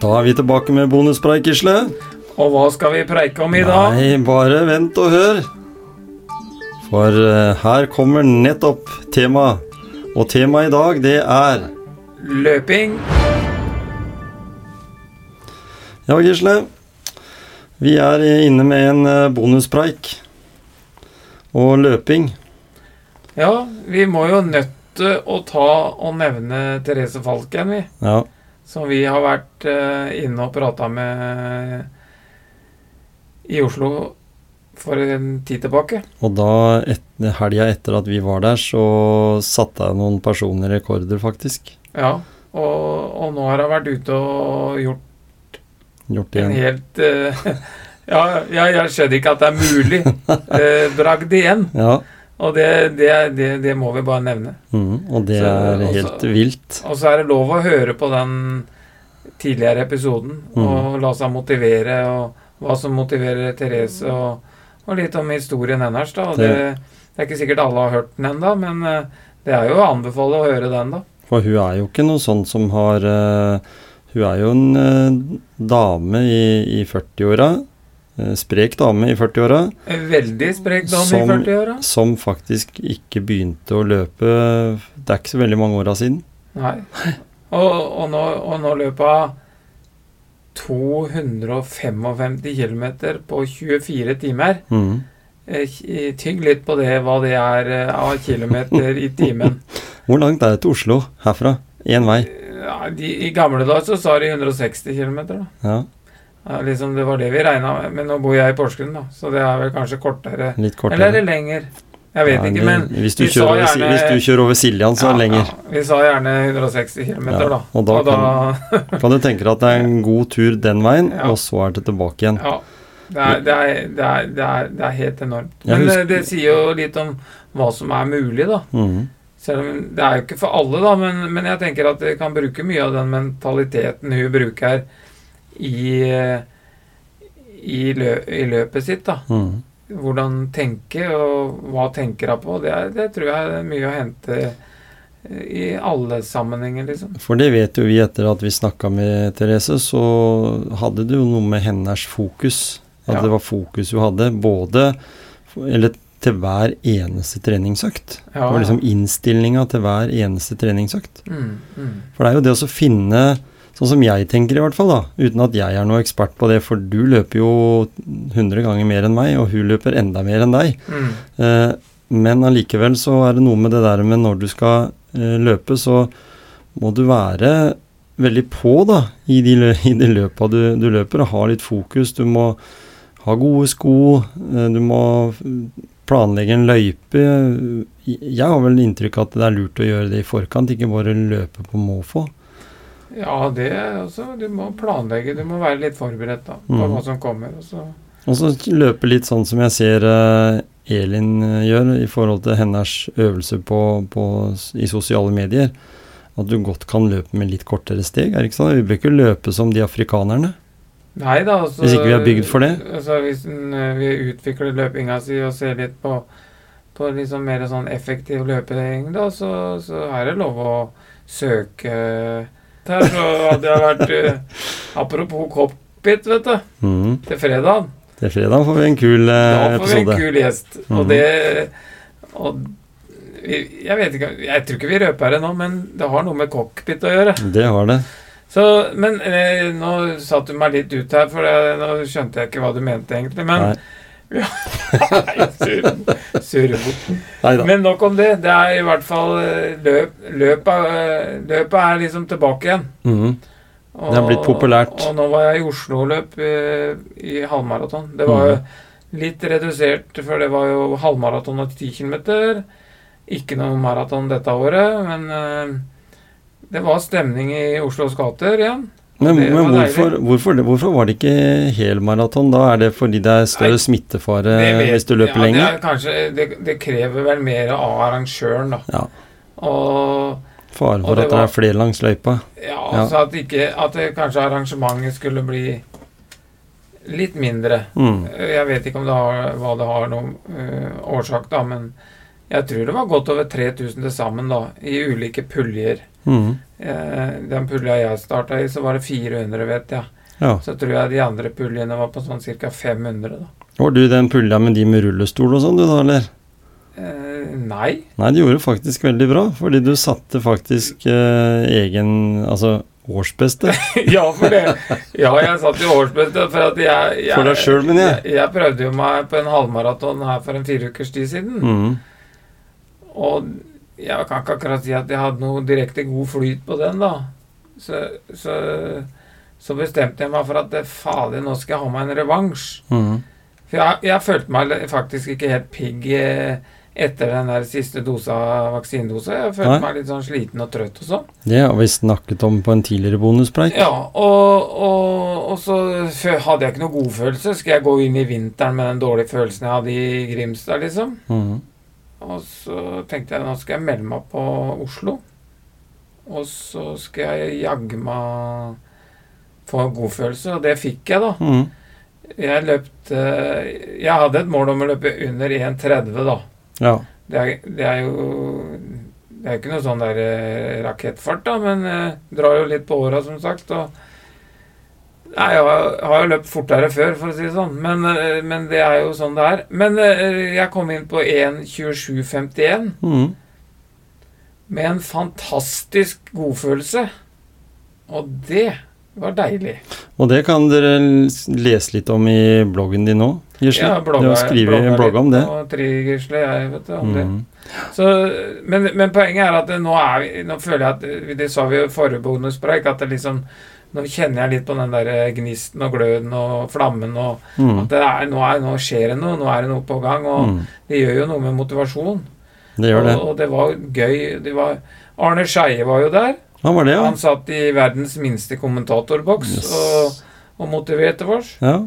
Da er vi tilbake med bonuspreik, Gisle. Og hva skal vi preike om i dag? Nei, bare vent og hør. For eh, her kommer nettopp temaet. Og temaet i dag, det er Løping. Ja, Gisle. Vi er inne med en eh, bonuspreik. Og løping. Ja, vi må jo nøtte å ta og nevne Therese Falken, vi. Ja. Som vi har vært eh, inne og prata med eh, i Oslo for en tid tilbake. Og da, et, helga etter at vi var der, så satte jeg noen personlige rekorder, faktisk. Ja, og, og nå har hun vært ute og gjort Gjort en igjen. helt eh, Ja, ja jeg skjønner ikke at det er mulig. Uh, bragd igjen. Ja. Og det, det, det, det må vi bare nevne. Mm, og det Så, er altså- helt vilt. Og så er det lov å høre på den tidligere episoden Mhm. og la seg motivere, og hva som motiverer Therese, og, og litt om historien hennes, da. Og Det, Det- det er ikke sikkert alle har hørt den ennå, men eh, det er jo å anbefale å høre den, da. For hun er jo ikke noe sånn som har eh, Hun er jo en eh, dame i, i 40-åra. eh, sprek dame i 40-åra. En veldig sprek dame Som- i 40-åra. Som faktisk ikke begynte å løpe Det er ikke så veldig mange åra siden. Nei. Og, og, nå, og nå løper hun 255 km på 24 timer. Mm. Eh, ki- Tygg litt på det, hva det er eh, av kilometer i timen. Hvor langt er det til Oslo herfra? Én vei. Ja, de, I gamle dager så sa de 160 km. Ja, Ja, liksom det var det vi regna med. Men nå bor jeg i Porsgrunn, da, så det er vel kanskje kortere. Litt Eller er det kortere. lenger? Jeg vet Ja, ikke, det- men hvis du, vi sa kjører, over, Si- gjerne- hvis du kjører over Siljan, så er det Ja, lenger. ja, vi sa gjerne 160 km, Ja, da. og da Kan du tenke deg at det er en god tur den veien, Ja. og så er det tilbake igjen. Ja. Det er, det, er, det, er, det, er, det er helt enormt. Jeg Men det, husker- det sier jo litt om hva som er mulig, da. Mhm. Selv om det er jo ikke for alle, da, men, men jeg tenker at vi kan bruke mye av den mentaliteten hun bruker i, eh, i, lø, i løpet sitt. da. Mhm. Hvordan tenke, og hva tenker hun på. Det, er, det tror jeg er mye å hente eh, i alle sammenhenger, liksom. For det vet jo vi etter at vi snakka med Therese, så hadde det jo noe med hennes fokus. At Ja. det var fokus hun hadde, både Eller til hver eneste treningsøkt. Ja, det var liksom innstillinga til hver eneste treningsøkt. mm, mm. For det er jo det å så finne Sånn som jeg tenker, i hvert fall, da, uten at jeg er noe ekspert på det, for du løper jo 100 ganger mer enn meg, og hun løper enda mer enn deg. Mm. Eh, Men allikevel så er det noe med det der med når du skal eh, løpe, så må du være veldig på da, i de, lø- i de løpa du, du løper, og ha litt fokus. Du må ha gode sko, eh, du må eh, planlegge en løype. Jeg har vel inntrykk av at det er lurt å gjøre det i forkant, ikke bare løpe på måfå. ja, det er også Du må planlegge. Du må være litt forberedt da, på Mm. hva som kommer. Og så Og så løpe litt sånn som jeg ser eh, Elin eh, gjør i forhold til hennes øvelse på, på, s- i sosiale medier. At du godt kan løpe med litt kortere steg. er det ikke sånn? Vi bør ikke løpe som de afrikanerne. Nei da, altså, Hvis ikke vi er bygd for det? Altså, hvis en, eh, vi utvikler løpinga si og ser litt på, på liksom mer sånn effektiv løping, da, så, så er det lov å søke Her så hadde jeg vært eh, Apropos cockpit, vet du, Mm. til fredag. Til fredag får vi en kul eh, Da får vi en episode. kul gjest. Mhm. Og det og, vi- jeg vet ikke, jeg tror ikke vi røper det nå, men det har noe med cockpit å gjøre. Det har det. Så, men eh, nå satte du meg litt ut her, for eh, nå skjønte jeg ikke hva du mente egentlig. Men, Nei, surr- surr bort. Nei da. men nok om det. Det er i hvert fall eh, løp, løpet, eh, løpet er liksom tilbake igjen. Mm. Og- Det har blitt populært. Og nå var jeg i Oslo og løp eh, i halvmaraton. Det var jo Mm. litt redusert, for det var jo halvmaraton og 10 km. Ikke noe maraton dette året, men eh, det var stemning i Oslos gater igjen. Men, det var men deilig. hvorfor, hvorfor, det- hvorfor var det ikke helmaraton? Da er det fordi det er større Nei, smittefare Det vet- Eh, hvis du løper ja, Det, lenger? er kanskje, det, det krever vel mer av arrangøren, da. Ja. Og Fare Og for det at det var- er flere langs løypa. ja, Ja. så at, ikke, at det, kanskje arrangementet skulle bli litt mindre. Mm. Jeg vet ikke om det har, hva det har noen eh, årsak, da, men Jeg tror det var godt over 3000 til sammen, da, i ulike puljer. Mm. Eh, den pulja jeg starta i, så var det 400, vet jeg. Ja. Så tror jeg de andre puljene var på sånn ca. 500, da. Var du den pulja med de med rullestol og sånn, du da, eller? Eh, nei. Nei, du gjorde faktisk veldig bra, fordi du satte faktisk eh, egen Altså årsbeste ja, for det. Ja, jeg satt i årsbeste, for at jeg, jeg for deg sjøl, mener jeg. Jeg, jeg prøvde jo meg på en halvmaraton her for en fire ukers tid siden. Mm. Og jeg kan ikke akkurat si at jeg hadde noe direkte god flyt på den, da. Så, så, så bestemte jeg meg for at det fader, nå skal jeg ha meg en revansj. Mm. For jeg, jeg følte meg le- faktisk ikke helt pigg eh, etter den der siste dosa vaksinedosa. Jeg følte Nei. meg litt sånn sliten og trøtt og sånn. Det har vi snakket om på en tidligere bonuspreik. Ja, og, og, og så fø- hadde jeg ikke noe godfølelse. Skal jeg gå inn i vinteren med den dårlige følelsen jeg hadde i Grimstad, liksom? Mm. Og så tenkte jeg nå skal jeg melde meg på Oslo. Og så skal jeg jaggu meg få en godfølelse, og det fikk jeg, da. Mm. Jeg løpte Jeg hadde et mål om å løpe under 1,30, da. Ja. Det er, det er jo Det er jo ikke noe sånn der eh, rakettfart, da, men eh, drar jo litt på åra, som sagt. og Nei, jeg har, har jo løpt fortere før, for å si det sånn, men, eh, men det er jo sånn det er. Men eh, jeg kom inn på 1.27,51 Mm. med en fantastisk godfølelse. Og det var deilig. Og det kan dere l- lese litt om i bloggen din nå, Gisle. Jeg har blogga- du har skrevet blogga en blogg om litt det. på Trigisle, jeg, vet du, om det. Mm. Så, men, men poenget er at nå er vi Nå føler jeg at vi- Det sa vi jo i forrige bonuspreik, at det liksom Nå kjenner jeg litt på den der eh, gnisten og gløden og flammen og Mm. at det er, nå, er, nå skjer det noe, nå er det noe på gang, og Mm. det gjør jo noe med motivasjon. Det gjør det. Og, og det var gøy. Det var Arne Skeie var jo der. Han var det, ja. Han satt i verdens minste kommentatorboks Yes. og, og motiverte oss. ja.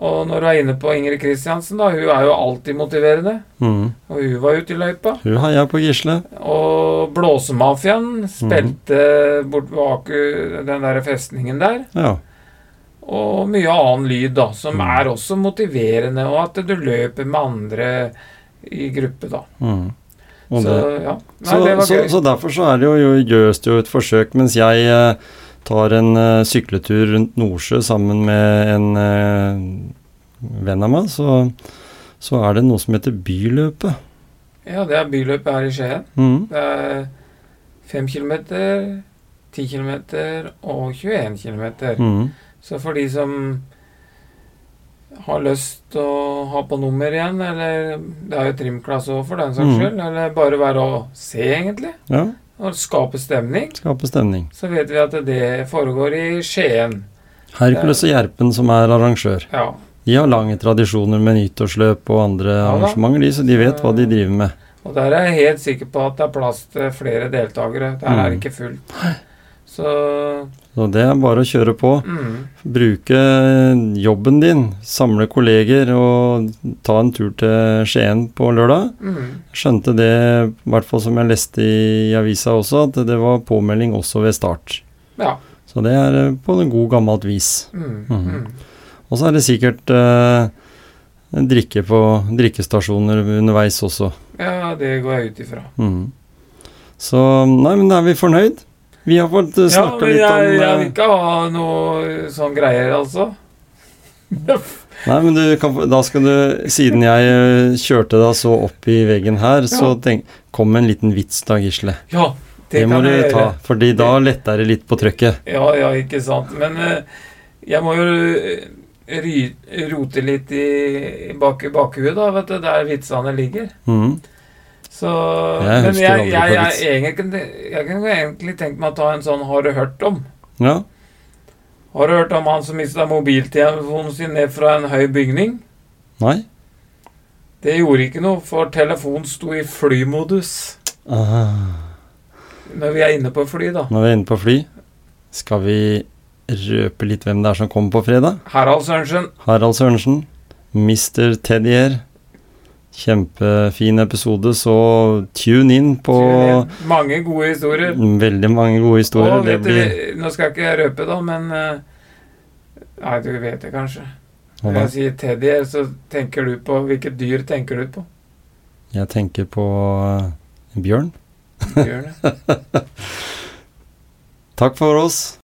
Og når du er inne på Ingrid Kristiansen, da, hun er jo alltid motiverende. Mm. Og hun var ute i løypa. Hun heier på Gisle. Og Blåsemafiaen spilte Mhm. bort ved Aku, den der festningen der. Ja. Og mye annen lyd, da, som Mm. er også motiverende. Og at du løper med andre i gruppe, da. Mm. Og Så det. ja. Nei, Så, det var så, gøy. så derfor så er det jo, jo gjøres det jo et forsøk, mens jeg eh, tar en eh, sykletur rundt Nordsjø sammen med en eh, venn av meg, så, så er det noe som heter Byløpet. Ja, det er byløpet her i Skien. Mm. Det er fem kilometer, ti kilometer og 21 kilometer. Mm. Så for de som har lyst å ha på nummer igjen, eller det er jo trimklasse òg, for den saks Mm. skyld, eller bare være å se, egentlig, Ja, og skape stemning, skape stemning. så vet vi at det foregår i Skien. Hercules og Gjerpen som er arrangør. Ja. De har lange tradisjoner med nyttårsløp og andre da. Eh. arrangementer, de, så de vet hva de driver med. Og der er jeg helt sikker på at det er plass til flere deltakere. Der er Mm. det ikke fullt. Så Så det er bare å kjøre på. mm, Bruke jobben din, samle kolleger og ta en tur til Skien på lørdag. mm. Skjønte det, i hvert fall som jeg leste i avisa også, at det var påmelding også ved start. Ja. Så det er eh, på en god gammelt vis. Mhm. Mm, mm. Og så er det sikkert eh, drikke på drikkestasjoner underveis også. Ja, det går jeg ut ifra. Mm. Så nei, men er vi fornøyd? Vi har fått uh, Ja, snakka men litt om jeg, jeg vil eh, ikke ha noe sånn greier, altså. Nei, men du kan, få- da skal du Siden jeg eh, kjørte deg så opp i veggen her, så Ja. tenk, kom med en liten vits da, Gisle. Ja, Det, det, må kan du jeg gjøre. ta, fordi da letter det litt på trøkket. Ja, ja, ikke sant. Men eh, jeg må jo eh, ry, rote litt i, i bak, bakhuet, da, vet du, der vitsene ligger. Mm. Så Jeg Men husker jeg, aldri jeg, på jeg, vits. egentlig, kunne- jeg kunne egentlig tenkt meg å ta en sånn 'Har du hørt om'? Ja. Har du hørt om han som mista mobiltelefonen sin ned fra en høy bygning? Nei? Det gjorde ikke noe, for telefonen sto i flymodus. Ah, Når vi er inne på fly, da. når vi er inne på fly, skal vi røpe litt hvem det er som kommer på fredag? Harald Sørensen. Harald Sørensen, Mr. Teddier. Kjempefin episode, så tune inn på Mange gode historier. Veldig mange gode historier. Og Det vet du, blir Nå skal jeg ikke røpe, da, men eh, Nei, du vet det kanskje. Å, Når da. jeg sier Teddy, så tenker du på Hvilket dyr tenker du på? Jeg tenker på eh, bjørn. Bjørn. Takk for oss.